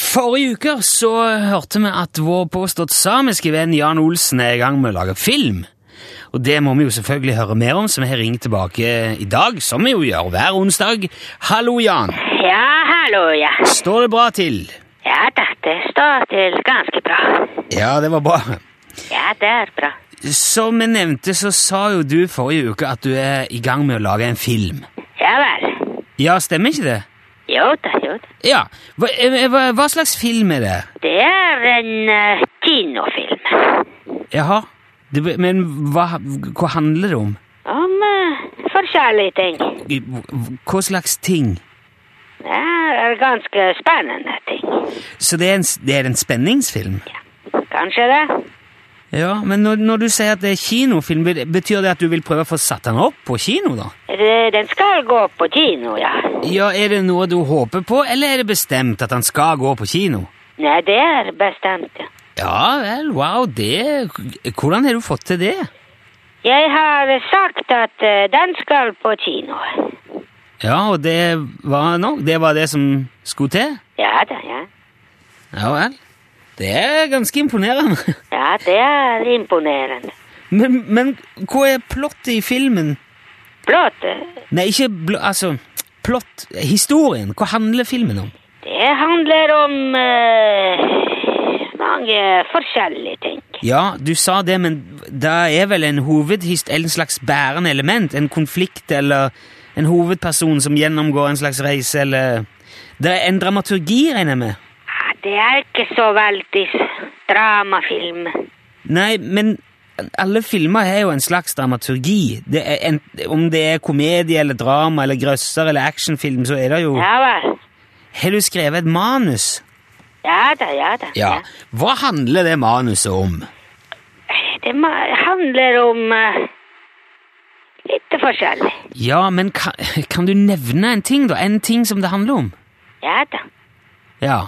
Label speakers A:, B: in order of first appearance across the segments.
A: Forrige uke så hørte vi at vår påstått samiske venn Jan Olsen er i gang med å lage film. Og det må vi jo selvfølgelig høre mer om, så vi har ringt tilbake i dag, som vi jo gjør hver onsdag. Hallo, Jan.
B: Ja, hallo, ja.
A: Står det bra til?
B: Ja da, det står til ganske bra.
A: Ja, det var bra.
B: Ja, det er bra.
A: Som vi nevnte, så sa jo du forrige uke at du er i gang med å lage en film.
B: Ja vel.
A: Ja, stemmer ikke det?
B: Jo da, jo da.
A: Ja. Hva, eh, hva, hva slags film er det?
B: Det er en eh, kinofilm
A: Jaha. Det, men hva, hva handler det om?
B: om eh, forskjellige ting.
A: Hva slags ting?
B: Det er ganske spennende ting.
A: Så det er en, det er en spenningsfilm?
B: Kanskje det?
A: Ja, men når, når du sier at det er kinofilm, bet- betyr det at du vil prøve å få satt den opp på kino, da?
B: Det- Den skal gå på kino, ja.
A: Ja, er det noe du håper på, eller er det bestemt at den skal gå på kino?
B: Nei, det er bestemt, ja.
A: Ja vel, wow, det Hvordan har du fått til det?
B: Jeg har sagt at eh, den skal på kino.
A: Ja, og det var nok Det var det som skulle til?
B: Ja da, ja.
A: Ja vel. Det er ganske imponerende.
B: Ja, det er imponerende.
A: Men, men hva er plottet i filmen?
B: Flott. eh,
A: Nei, ikke bl altså, plott, historien. Hva handler filmen om?
B: Det handler om eh, mange forskjellige ting.
A: Ja, du sa det, men det er vel en hovedhist, en slags bærende element, en konflikt eller en hovedperson som gjennomgår en slags reise, eller Det er en dramaturgi, regner jeg med?
B: Ja, det er ikke så veldig s- dramafilm.
A: Nei, men alle filmer har jo en slags dramaturgi. Det er en, om det er komedie eller drama eller grøsser eller actionfilm, så er det jo
B: Ja vel.
A: Har du skrevet et manus?
B: Ja da, ja da.
A: Hva handler det manuset om?
B: Det ma- handler om eh, litt forskjellig.
A: Ja, men kan, kan du nevne en ting, da? En ting som det handler om?
B: Ja da.
A: Ja.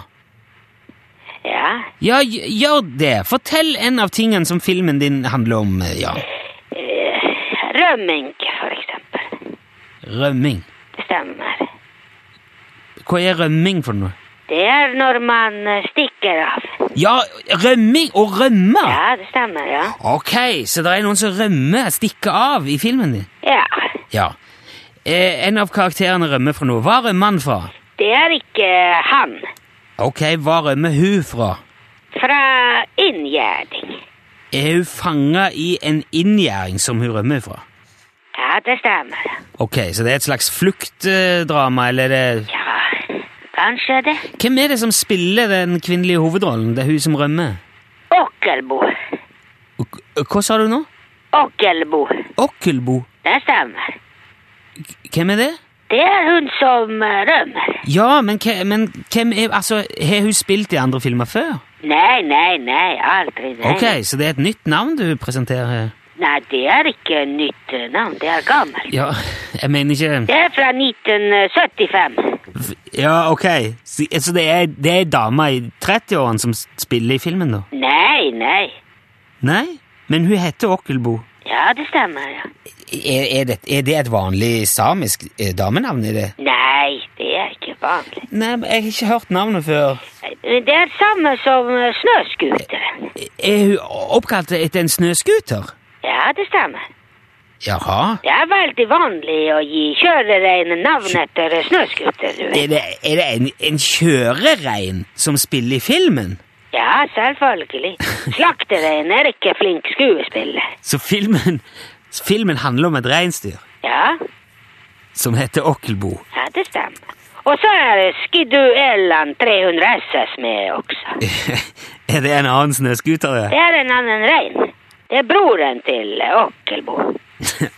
B: Ja.
A: Ja, gj- gjør det. Fortell en av tingene som filmen din handler om, eh, ja.
B: Rømming, for eksempel.
A: Rømming.
B: Det stemmer.
A: Hva er rømming for noe?
B: Det er når man eh, stikker av.
A: Ja, rømming og rømme!
B: Ja, det stemmer, ja.
A: Ok, så det er noen som rømmer, stikker av i filmen din.
B: Ja.
A: Ja. Eh, en av karakterene rømmer fra noe. Hva rømmer han fra?
B: Det er ikke han.
A: Ok, hva rømmer hun fra?
B: Fra inngjerding.
A: Er hun fanga i en inngjerding som hun rømmer fra?
B: Ja, det stemmer.
A: Ok, så det er et slags fluktdrama, eller det
B: Ja, kanskje det.
A: Hvem er det som spiller den kvinnelige hovedrollen? Det er hun som rømmer?
B: Okkelbo.
A: Og- og Hva sa du nå?
B: Okkelbo.
A: Okkelbo?
B: Det stemmer.
A: Hvem er det?
B: Det er hun som eh, rømmer.
A: Ja, men, hva- men hvem er Altså, har hun spilt i andre filmer før?
B: Nei, nei, nei, aldri. Nei,
A: Ok, så det er et nytt navn du presenterer her.
B: nei det er ikke nytt eh, navn. Det er gammelt.
A: Ja, jeg mener ikke
B: Det er fra 1975.
A: Ja, ok. Så, så det er det er ei dame i 30-årene som s- spiller i filmen, da?
B: Nei, nei.
A: Nei, men hun heter Okkelbo.
B: Ja, det stemmer, ja.
A: Er, er, det, er det et vanlig samisk eh, damenavn? i det?
B: Nei, det er ikke vanlig.
A: Nei, men jeg har ikke hørt navnet før.
B: Men Det er samme som eh, snøskuteren.
A: Er hun oppkalt etter en snøscooter?
B: Ja, det stemmer.
A: Jaha.
B: Det er veldig vanlig å gi kjørereinen navn etter snøskuter, du vet.
A: Er det, er det en, en kjørerein som spiller i filmen?
B: Ja, selvfølgelig. Slakterein er ikke flink skuespiller.
A: Så filmen, så filmen handler om et reinsdyr
B: Ja,
A: som heter Okkelbo.
B: ja det stemmer. Og så er det Skiduellan 300 SS med også.
A: er det en annen snøscooter?
B: Det
A: det?
B: er en annen rein. Det er broren til Okkelbo.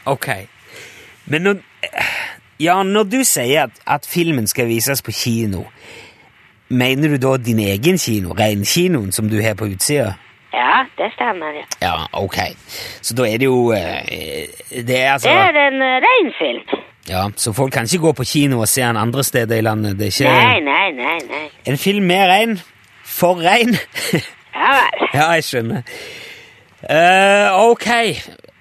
A: ok. Men når, ja, når du sier at, at filmen skal vises på kino, mener du da din egen kino, reinkinoen som du har på utsida?
B: Ja, det stemmer. ja.
A: Ja, ok. Så da er det jo eh, Det er altså
B: Det er en eh, reinfilm.
A: Ja, Så folk kan ikke gå på kino og se den andre steder i landet? Det er ikke
B: Nei, nei, nei, nei.
A: En film med rein, for rein.
B: Ja vel.
A: Ja, jeg skjønner. Eh, ok,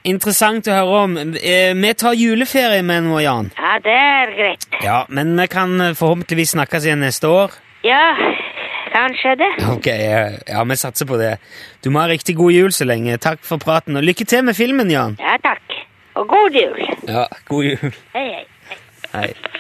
A: interessant å høre om. Eh, vi tar juleferie med nå, Jan.
B: Ja, det er greit.
A: eh, Ja, Men vi kan forhåpentligvis snakkes igjen neste år.
B: Ja, kanskje det.
A: Ok, eh, ja, vi satser på det. Du må ha riktig god jul så lenge. Takk for praten, og lykke til med filmen, Jan.
B: Ja takk. Og god jul.
A: Ja, god jul.
B: Hei, hei.
A: Hei.